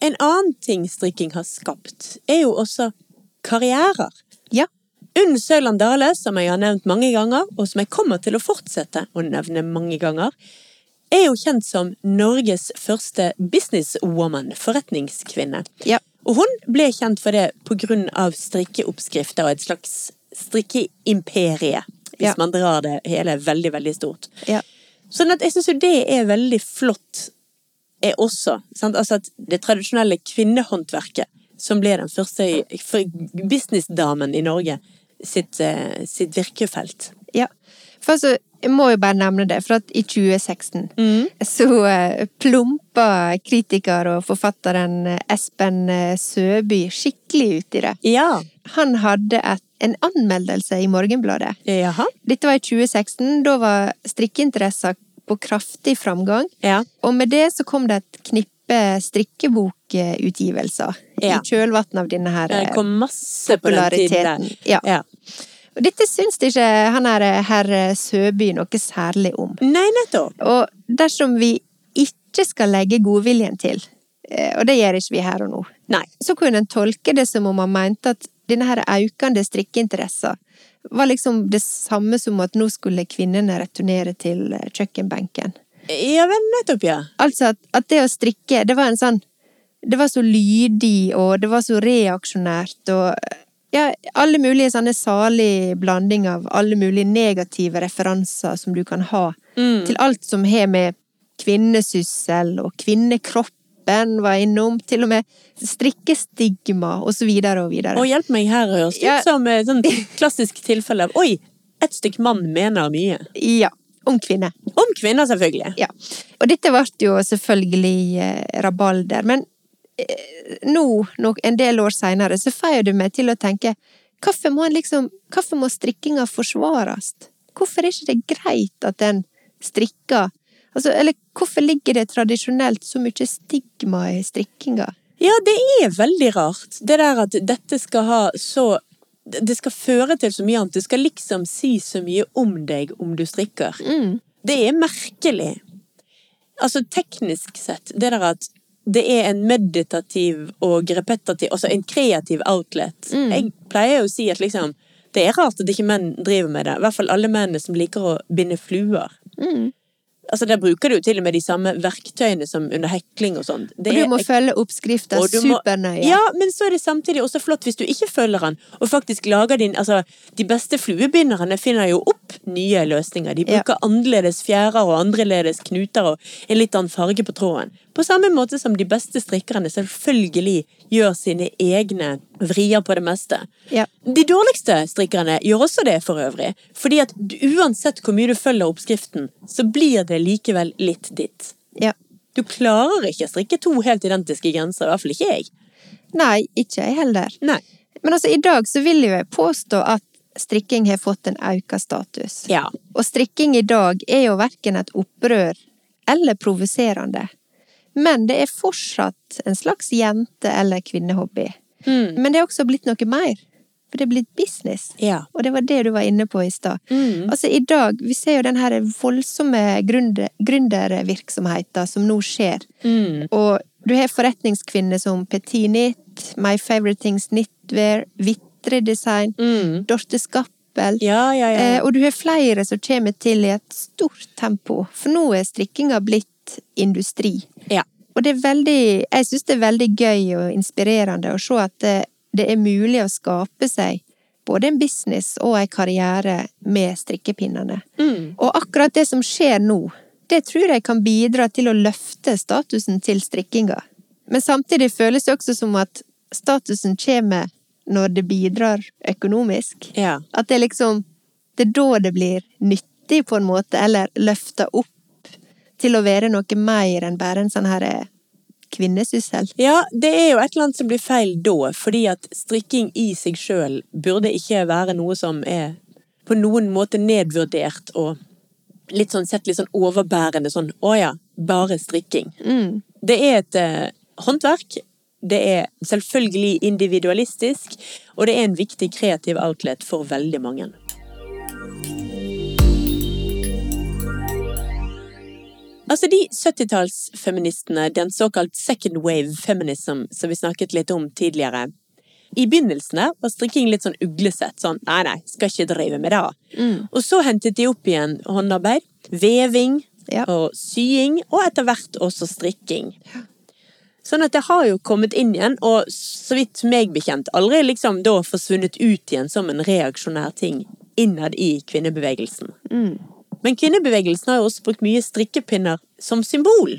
Speaker 1: En annen ting strikking har skapt, er jo også karrierer.
Speaker 2: Ja.
Speaker 1: Unn Søland Dale, som jeg har nevnt mange ganger, og som jeg kommer til å fortsette å nevne mange ganger, er jo kjent som Norges første businesswoman, forretningskvinne.
Speaker 2: Ja.
Speaker 1: Og hun ble kjent for det på grunn av strikkeoppskrifter og et slags strikkeimperie, hvis
Speaker 2: Ja.
Speaker 1: man drar det hele veldig, veldig stort.
Speaker 2: Ja.
Speaker 1: Sånn at jeg syns jo det er veldig flott er også sant? Altså at det tradisjonelle kvinnehåndverket, som ble den første i- for- businessdamen i Norge, sitt, eh, sitt virkefelt.
Speaker 2: Ja. For altså, jeg må jo bare nevne det, for at i 2016
Speaker 1: Mm.
Speaker 2: så eh, plumpa kritiker og forfatteren eh, Espen eh, Søby skikkelig ut i det.
Speaker 1: Ja.
Speaker 2: Han hadde et, en anmeldelse i Morgenbladet.
Speaker 1: Jaha.
Speaker 2: Dette var i 2016. Da var strikkeinteresser på kraftig framgang.
Speaker 1: Ja.
Speaker 2: Og med det så kom det et knippe strikkebokutgivelser
Speaker 1: Ja.
Speaker 2: i kjølvannet av denne her
Speaker 1: Det
Speaker 2: eh,
Speaker 1: kom masse på den tiden der.
Speaker 2: populariteten. Ja. eh, Og dette syns ikke han her, herr Søby noe særlig om.
Speaker 1: Nei, nettopp.
Speaker 2: Og dersom vi ikke skal legge godviljen til, eh, og det gjør ikke vi her og nå,
Speaker 1: Nei.
Speaker 2: så kunne en tolke det som om han mente at denne her økende strikkeinteressen var liksom det samme som at nå skulle kvinnene returnere til eh, kjøkkenbenken.
Speaker 1: Ja vel, nettopp, ja.
Speaker 2: Altså at, at det å strikke, det var en sånn Det var så lydig, og det var så reaksjonært, og ja, alle mulige sånne salig blanding av alle mulige negative referanser som du kan ha til alt som har med kvinnesyssel og kvinnekroppen var innom, til og med strikkestigma og så videre og videre.
Speaker 1: Og hjelp meg her, høres det
Speaker 2: Ja.
Speaker 1: ut som et sånn klassisk tilfelle av Oi, ett stykk mann mener mye.
Speaker 2: Ja. Om kvinner.
Speaker 1: Om kvinner, selvfølgelig.
Speaker 2: Ja. Og dette ble jo selvfølgelig eh, rabalder, men eh, nå, nok en del år seinere, så får du meg til å tenke Hvorfor må, en liksom, hvorfor må strikkinga forsvares? Hvorfor er ikke det greit at en strikker? Altså, eller hvorfor ligger det tradisjonelt så mye stigma i strikkinga?
Speaker 1: Ja, det er veldig rart. Det der at dette skal ha så Det skal føre til så mye annet. Du skal liksom si så mye om deg om du strikker.
Speaker 2: Mm.
Speaker 1: Det er merkelig. Altså teknisk sett, det der at det er en
Speaker 2: Mm.
Speaker 1: meditativ og repetativ Altså en kreativ outlet. Jeg pleier jo å si at liksom Det er rart at ikke menn driver med det. I hvert fall alle mennene som liker å binde fluer.
Speaker 2: Mm.
Speaker 1: Altså, Der bruker du jo til og med de samme verktøyene som under hekling og sånt. Det
Speaker 2: Og
Speaker 1: er
Speaker 2: du må
Speaker 1: ek-
Speaker 2: følge oppskrifta
Speaker 1: og du må-
Speaker 2: supernøye.
Speaker 1: Ja, men så er det samtidig også flott hvis du ikke følger den, og faktisk lager din Altså, de beste fluebinderne finner jo opp nye løsninger. De
Speaker 2: Ja.
Speaker 1: bruker annerledes fjærer og annerledes knuter og en litt annen farge på tråden. På samme måte som de beste strikkerne selvfølgelig gjør sine egne vrier på det meste.
Speaker 2: Ja.
Speaker 1: De dårligste strikkerne gjør også det for øvrig, fordi at du- uansett hvor mye du følger oppskriften, så blir det likevel litt ditt.
Speaker 2: Ja.
Speaker 1: Du klarer ikke å strikke to helt identiske grenser, i hvert fall ikke jeg.
Speaker 2: Nei, ikke jeg heller.
Speaker 1: Nei.
Speaker 2: Men altså, i dag så vil jo jeg påstå at strikking har fått en auka status.
Speaker 1: Ja.
Speaker 2: Og strikking i dag er jo verken et opprør eller provoserende. Men det er fortsatt en slags jente- eller kvinnehobby. Men det er også blitt noe mer. For det er blitt business.
Speaker 1: Ja.
Speaker 2: Og det var det du var inne på i stad. Altså, i dag, vi ser jo den her voldsomme gründer- gründervirksomheten som nå skjer. Og du har forretningskvinner som Petinit, My Favorite Things Knitwear, Vitre Design,
Speaker 1: Mm.
Speaker 2: Dorte Skappel.
Speaker 1: Ja, ja, ja.
Speaker 2: Mm. Eh, og du har flere som kommer til i et stort tempo. For nå er strikkinga blitt industri.
Speaker 1: Ja.
Speaker 2: Og det er veldig, jeg syns det er veldig gøy og inspirerende å se at det, det er mulig å skape seg både en business og en karriere med strikkepinnene.
Speaker 1: Mm.
Speaker 2: Og akkurat det som skjer nå, det tror jeg kan bidra til å løfte statusen til strikkinga. Men samtidig føles det også som at statusen kommer når det bidrar økonomisk.
Speaker 1: Ja.
Speaker 2: At det liksom Det er da det blir nyttig, på en måte, eller løfta opp til å være noe mer enn bare en sånn her eh, kvinnesyssel.
Speaker 1: Ja, det er jo et eller annet som blir feil da, fordi at strikking i seg sjøl burde ikke være noe som er på noen måte nedvurdert og litt sånn sett litt sånn overbærende sånn å ja, bare strikking.
Speaker 2: Mm.
Speaker 1: Det er et eh, håndverk. Det er selvfølgelig individualistisk, og det er en viktig kreativ outlet for veldig mange. Altså de 70-tallsfeministene, den såkalt second wave feminism som vi snakket litt om tidligere. I begynnelsen der var strikking litt sånn uglesett, sånn nei, nei, skal ikke drive med det. Og så hentet de opp igjen håndarbeid, veving
Speaker 2: Ja.
Speaker 1: og sying, og etter hvert også strikking. Sånn at det har jo kommet inn igjen, og så vidt meg bekjent aldri liksom da forsvunnet ut igjen som en reaksjonær ting innad i kvinnebevegelsen. Men kvinnebevegelsen har jo også brukt mye strikkepinner som symbol.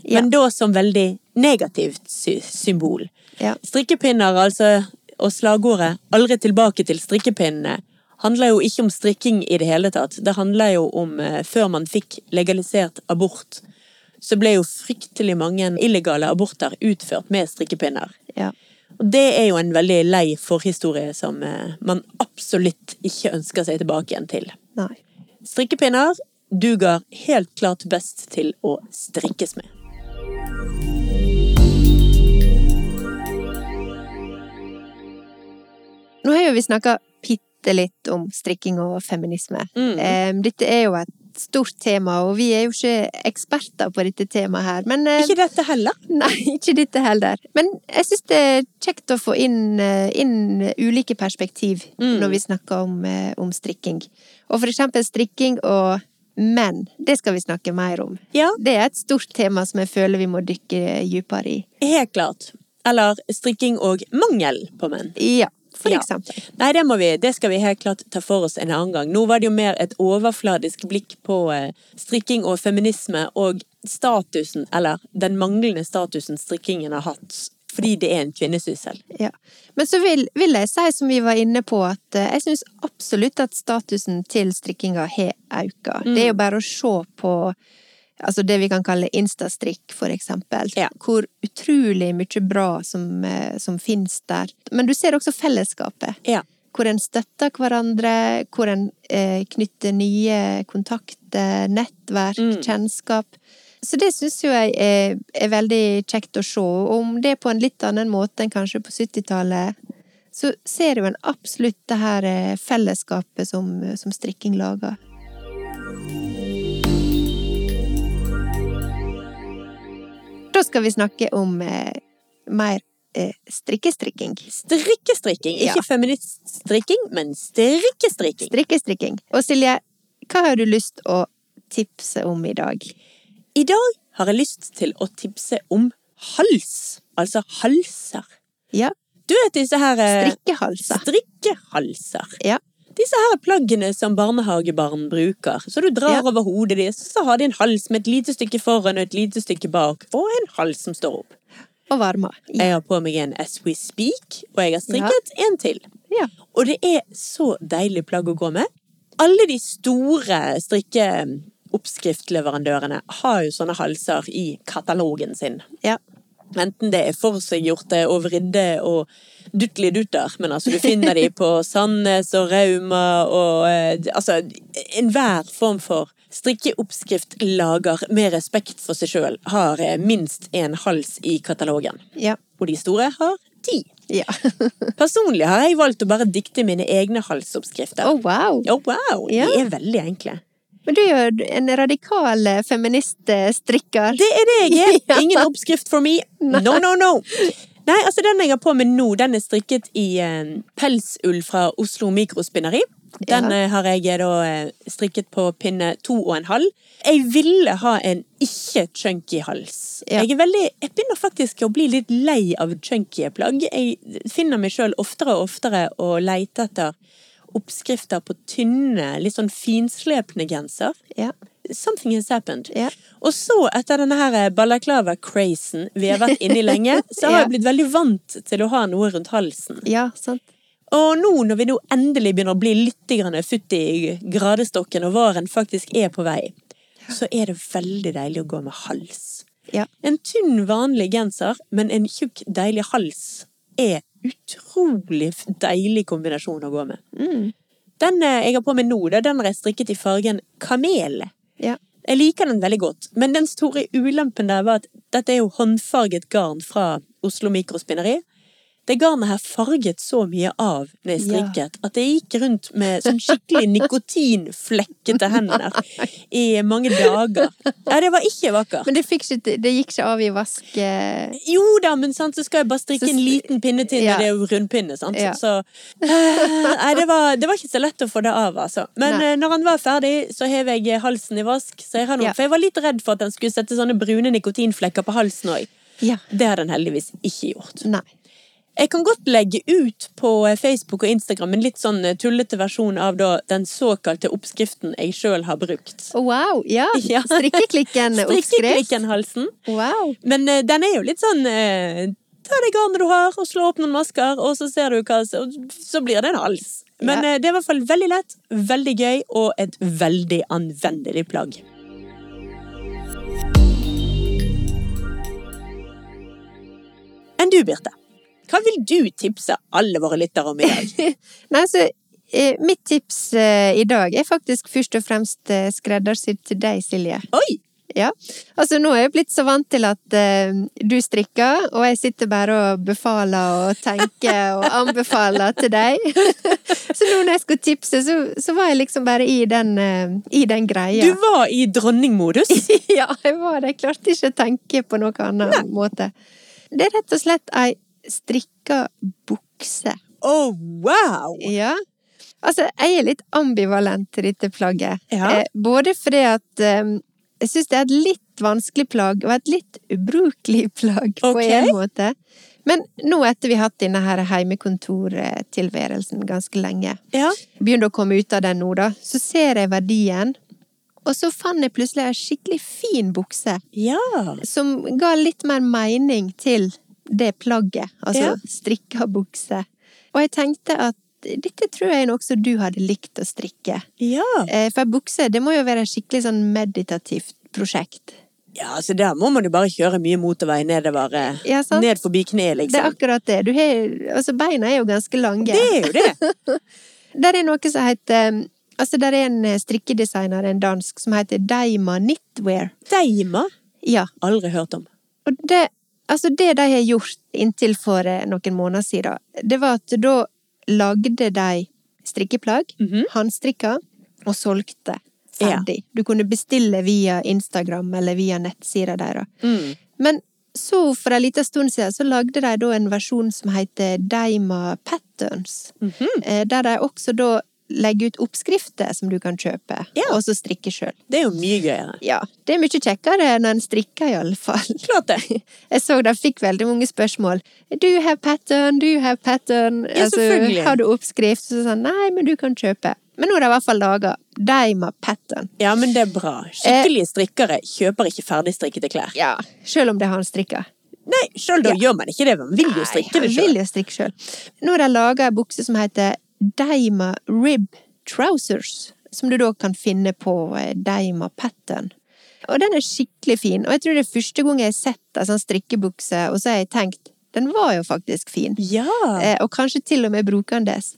Speaker 2: Ja.
Speaker 1: Men da som veldig negativt sy symbol.
Speaker 2: Ja.
Speaker 1: Strikkepinner, altså, og slagordet 'aldri tilbake til strikkepinnene', handler jo ikke om strikking i det hele tatt. Det handler jo om eh, før man fikk legalisert abort. Så ble jo fryktelig mange illegale aborter utført med strikkepinner.
Speaker 2: Ja.
Speaker 1: Og det er jo en veldig lei forhistorie som eh, man absolutt ikke ønsker seg tilbake igjen til.
Speaker 2: Nei.
Speaker 1: Strikkepinner duger helt klart best til å strikkes med.
Speaker 2: Nå har jo vi snakka bitte litt om strikking og feminisme. Eh, Dette er jo et stort tema, og vi er jo ikke eksperter på dette temaet her, men eh,
Speaker 1: Ikke dette heller.
Speaker 2: [LAUGHS] Nei, ikke dette heller. Men jeg syns det er kjekt å få inn, eh, inn ulike perspektiv
Speaker 1: Mm.
Speaker 2: når vi snakker om, eh, om strikking. Og for eksempel strikking og menn, det skal vi snakke mer om.
Speaker 1: Ja.
Speaker 2: Det er et stort tema som jeg føler vi må dykke dypere i.
Speaker 1: Helt klart. Eller strikking og mangel på menn.
Speaker 2: Ja, for
Speaker 1: Ja.
Speaker 2: eksempel.
Speaker 1: Nei, det må vi. Det skal vi helt klart ta for oss en annen gang. Nå var det jo mer et overfladisk blikk på eh, strikking og feminisme og statusen, eller den manglende statusen strikkingen har hatt. Fordi det er en kvinnesyssel.
Speaker 2: Ja. Men så vil, vil jeg si, som vi var inne på, at eh, jeg syns absolutt at statusen til strikkinga har auka. Det er jo bare å se på altså det vi kan kalle instastrikk, for eksempel.
Speaker 1: Ja.
Speaker 2: Hvor utrolig mye bra som, eh, som finnes der. Men du ser også fellesskapet.
Speaker 1: Ja.
Speaker 2: Hvor en støtter hverandre, hvor en eh, knytter nye kontakter, nettverk, kjennskap. Så det syns jo jeg er, er veldig kjekt å se. Og Om det er på en litt annen måte enn kanskje på 70-tallet, så ser jo en absolutt det her eh, fellesskapet som, som strikking lager. Da skal vi snakke om eh, mer eh, strikkestrikking.
Speaker 1: Strikkestrikking. Ikke
Speaker 2: Ja.
Speaker 1: feministstrikking, men strikkestrikking.
Speaker 2: Strikkestrikking. Og Silje, hva har du lyst å tipse om i dag?
Speaker 1: I dag har jeg lyst til å tipse om hals. Altså halser.
Speaker 2: Ja,
Speaker 1: Du vet disse her eh,
Speaker 2: strikkehalser.
Speaker 1: Strikkehalser.
Speaker 2: Ja.
Speaker 1: Disse her plaggene som barnehagebarn bruker. Så du drar
Speaker 2: Ja.
Speaker 1: over hodet ditt, så har de en hals med et lite stykke foran og et lite stykke bak, og en hals som står opp.
Speaker 2: Og varmer.
Speaker 1: Jeg har på meg en As We Speak, og jeg har strikket en til.
Speaker 2: Ja.
Speaker 1: Og det er så deilig plagg å gå med. Alle de store strikkeoppskriftleverandørene har jo sånne halser i katalogen sin.
Speaker 2: ja.
Speaker 1: Enten det er forseggjorte og vridde og duttelidutter, men altså du finner de på Sandnes og Rauma og eh, altså enhver form for strikkeoppskriftlager med respekt for seg sjøl har eh, minst en hals i katalogen.
Speaker 2: Ja.
Speaker 1: Og de store har ti.
Speaker 2: [LAUGHS] ja.
Speaker 1: Personlig har jeg valgt å bare dikte mine egne halsoppskrifter.
Speaker 2: Å, wow!
Speaker 1: Oh, wow!
Speaker 2: Ja.
Speaker 1: De er veldig enkle.
Speaker 2: Men du er jo en radikal eh, feministstrikker.
Speaker 1: Det er det jeg
Speaker 2: [LAUGHS] Ja.
Speaker 1: er! Ingen oppskrift for me. No, no, no! Nei, altså den jeg har på med nå, den er strikket i eh, pelsull fra Oslo Mikrospinneri. Den
Speaker 2: Ja.
Speaker 1: eh, har jeg eh, da eh, strikket på pinne to og en halv. Jeg ville ha en ikke chunky hals.
Speaker 2: Ja.
Speaker 1: Jeg er veldig, jeg begynner faktisk å bli litt lei av chunky plagg. Jeg finner meg sjøl oftere og oftere å leite etter oppskrifter på tynne, litt sånn finslepne genser.
Speaker 2: Ja.
Speaker 1: Something has happened.
Speaker 2: Ja.
Speaker 1: Og så, etter denne her eh, balaklava-crazen vevet inni lenge,
Speaker 2: [LAUGHS]
Speaker 1: så har
Speaker 2: Ja.
Speaker 1: jeg blitt veldig vant til å ha noe rundt halsen.
Speaker 2: ja, sant.
Speaker 1: Og nå når vi nå endelig begynner å bli litt grann futt i gradestokken, og våren faktisk er på vei, så er det veldig deilig å gå med hals.
Speaker 2: Ja.
Speaker 1: En tynn, vanlig genser, men en tjukk, deilig hals er utrolig f- deilig kombinasjon å gå med.
Speaker 2: Mm.
Speaker 1: Den eh, jeg har på meg nå, da, den har jeg strikket i fargen kamel.
Speaker 2: Ja.
Speaker 1: Jeg liker den veldig godt, men den store ulempen der var at dette er jo håndfarget garn fra Oslo Mikrospinneri. Det garnet her farget så mye av når jeg strikket, at jeg gikk rundt med sånn skikkelig nikotinflekkete hender i mange dager. Ja, det var ikke vakkert.
Speaker 2: Men det, fikk ikke, det gikk ikke av i vask... eh,
Speaker 1: Jo da, men sant, så skal jeg bare strikke
Speaker 2: Så
Speaker 1: en
Speaker 2: s-
Speaker 1: liten pinne til,
Speaker 2: Ja.
Speaker 1: når det er jo rundpinne, sant.
Speaker 2: Ja.
Speaker 1: Så eh, Nei, det var, det var ikke så lett å få det av, altså. Men
Speaker 2: Nei.
Speaker 1: eh, når han var ferdig, så hev jeg eh, halsen i vask. Så jeg har noe,
Speaker 2: Ja.
Speaker 1: For jeg var litt redd for at han skulle sette sånne brune nikotinflekker på halsen òg.
Speaker 2: Ja.
Speaker 1: Det har den heldigvis ikke gjort.
Speaker 2: Nei.
Speaker 1: Jeg kan godt legge ut på eh, Facebook og Instagram en litt sånn eh, tullete versjon av da den såkalte oppskriften jeg sjøl har brukt.
Speaker 2: Å, Oh, wow! [LAUGHS] Ja.
Speaker 1: [LAUGHS] Ja.
Speaker 2: [LAUGHS] Strikkeklikken-oppskrift.
Speaker 1: Strikkeklikken-halsen.
Speaker 2: Wow.
Speaker 1: Men eh, den er jo litt sånn eh, Ta det garnet du har, og slå opp noen masker, og så ser du hva Så, så blir det en hals. Men
Speaker 2: Ja.
Speaker 1: eh, det er i hvert fall veldig lett, veldig gøy og et veldig anvendelig plagg. Enn du, Birte? Hva vil du tipse alle våre lyttere om i dag?
Speaker 2: Nei, så eh, mitt tips eh, i dag er faktisk først og fremst eh, skreddersydd til deg, Silje.
Speaker 1: [LAUGHS] Oi!
Speaker 2: Ja. Altså, nå er jeg blitt så vant til at eh, du strikker, og jeg sitter bare og befaler og tenker og anbefaler til deg. [LAUGHS] så nå når jeg skulle tipse, så, så var jeg liksom bare i den, eh, i den greia.
Speaker 1: Du var i dronningmodus.
Speaker 2: [LAUGHS] ja, jeg var det. Jeg klarte ikke å tenke på noen annen måte. Det er rett og slett ei strikka bukse.
Speaker 1: [LAUGHS] Oh, wow!
Speaker 2: Ja. Altså, jeg er litt ambivalent til dette plagget.
Speaker 1: Ja.
Speaker 2: Eh, både fordi at eh, jeg syns det er et litt vanskelig plagg, og et litt ubrukelig [LAUGHS] plagg på
Speaker 1: Ok.
Speaker 2: en måte. Men nå etter vi har hatt denne her heimekontortilværelsen ganske lenge,
Speaker 1: Ja.
Speaker 2: begynner å komme ut av den nå, da, så ser jeg verdien. Og så fant jeg plutselig ei skikkelig fin bukse
Speaker 1: ja.
Speaker 2: som ga litt mer mening til det plagget,
Speaker 1: Ja.
Speaker 2: altså strikka bukse. Og jeg tenkte at dette tror jeg er noe som du hadde likt å strikke.
Speaker 1: Ja.
Speaker 2: Eh, For ei bukse, det må jo være et skikkelig sånn meditativt prosjekt.
Speaker 1: Ja, altså der må man jo bare kjøre mye motorvei nedover eh,
Speaker 2: Ja, sant.
Speaker 1: Ned forbi kneet,
Speaker 2: Det er
Speaker 1: liksom.
Speaker 2: akkurat det. Du har, altså beina er jo ganske lange.
Speaker 1: Det er jo det!
Speaker 2: Der er noe som heter um, Altså, der er en eh, strikkedesigner, en dansk, som heter Deima Knitwear.
Speaker 1: Deima.
Speaker 2: Ja.
Speaker 1: Aldri hørt om.
Speaker 2: Og det, altså det de har gjort inntil for eh, noen måneder siden, det var at da lagde de strikkeplagg, håndstrikka, og solgte
Speaker 1: Mhm. Ja. Mm.
Speaker 2: ferdig. Du kunne bestille via Instagram eller via nettsida deres. Men så for en liten stund siden så lagde de da en versjon som heter Deima Patterns.
Speaker 1: Mhm.
Speaker 2: Eh, Der de også da legger ut oppskrifter som du kan kjøpe,
Speaker 1: Ja.
Speaker 2: og så strikke sjøl.
Speaker 1: Det er jo mye gøyere.
Speaker 2: Ja, det er mye kjekkere når en strikker, iallfall.
Speaker 1: Klart det.
Speaker 2: [LAUGHS] Jeg så de fikk veldig mange spørsmål. Do you have pattern? Do you have pattern? Altså,
Speaker 1: Ja, selvfølgelig.
Speaker 2: har du oppskrift? Så sa han nei, men du kan kjøpe. Men nå har de i hvert fall laga Deima Pattern.
Speaker 1: Ja, men det er bra. Skikkelige
Speaker 2: Eh.
Speaker 1: strikkere kjøper ikke ferdigstrikkede klær.
Speaker 2: Ja, sjøl om det er han strikka.
Speaker 1: Nei, sjøl da gjør man ikke det. Man vil jo strikke det
Speaker 2: Nei, han
Speaker 1: sjøl.
Speaker 2: vil jo strikke selv. Nå har de laga ei bukse som heter Deima Rib Trousers, som du da kan finne på eh, Deima Pattern. Og den er skikkelig fin, og jeg tror det er første gang jeg har sett ei sånn strikkebukse, og så har jeg tenkt den var jo faktisk fin,
Speaker 1: Ja.
Speaker 2: eh, og kanskje til og med brukende.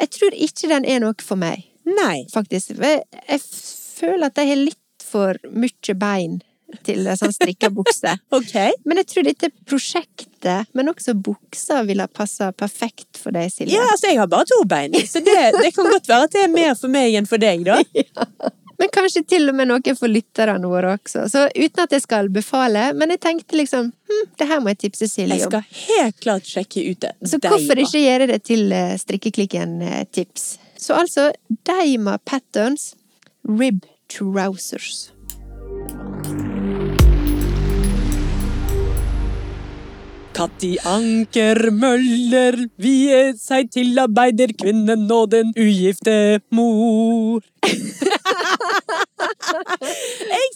Speaker 2: Jeg tror ikke den er noe for meg,
Speaker 1: Nei.
Speaker 2: faktisk. Jeg, jeg føler at jeg har litt for mye bein til
Speaker 1: [LAUGHS]
Speaker 2: ei sånn strikkebukse.
Speaker 1: Ok.
Speaker 2: Men jeg tror dette prosjektet, men også buksa, ville ha passa perfekt for deg, Silje.
Speaker 1: Ja, altså, jeg har bare to bein, så det, det kan godt være at det er mer for meg enn for deg,
Speaker 2: [LAUGHS]
Speaker 1: da.
Speaker 2: Men kanskje til og med noe for lytterne våre også. Så uten at jeg skal befale, men jeg tenkte liksom hm, det her må jeg tipse
Speaker 1: Jeg
Speaker 2: Silje om.
Speaker 1: skal helt klart sjekke ut det.
Speaker 2: Så
Speaker 1: Deima.
Speaker 2: hvorfor ikke gjøre det til eh, strikkeklikken-tips? Så altså Deima Patterns Rib Trousers.
Speaker 1: Katti Anker Møller viet seg til arbeiderkvinnen og den ugifte mor. jeg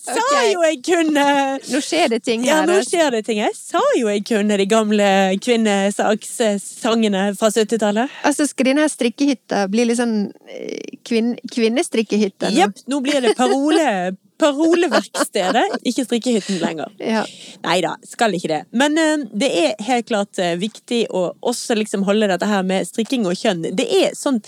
Speaker 1: sa
Speaker 2: Ok.
Speaker 1: jo jeg kunne!
Speaker 2: Nå skjer det ting
Speaker 1: Ja,
Speaker 2: her.
Speaker 1: nå
Speaker 2: altså.
Speaker 1: skjer det ting. Jeg sa jo jeg kunne de gamle kvinnesakssangene fra 70-tallet.
Speaker 2: Altså, skal denne her strikkehytta bli litt sånn eh, kvinn, kvinnestrikkehytte nå?
Speaker 1: Jepp, nå blir det parole, paroleverkstedet, ikke strikkehytten lenger.
Speaker 2: Ja.
Speaker 1: Nei da, skal ikke det. Men eh, det er helt klart eh, viktig å også liksom holde dette her med strikking og kjønn. Det er sånn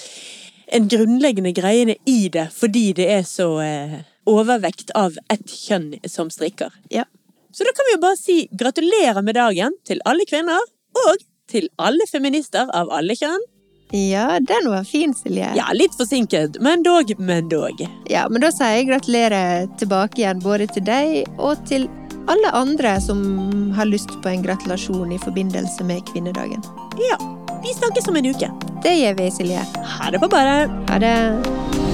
Speaker 1: en grunnleggende greiene i det, fordi det er så eh, overvekt av ett kjønn som strikker.
Speaker 2: ja.
Speaker 1: Så da kan vi jo bare si gratulerer med dagen til alle kvinner, og til alle feminister av alle kjønn.
Speaker 2: Ja, den var fin, Silje.
Speaker 1: Ja, litt forsinket, men dog, men dog.
Speaker 2: Ja, men da sier jeg gratulerer tilbake igjen både til deg og til alle andre som har lyst på en gratulasjon i forbindelse med kvinnedagen.
Speaker 1: Ja, vi snakkes om en uke.
Speaker 2: Det gjør vi, Silje.
Speaker 1: Ha det på badet!
Speaker 2: Ha det.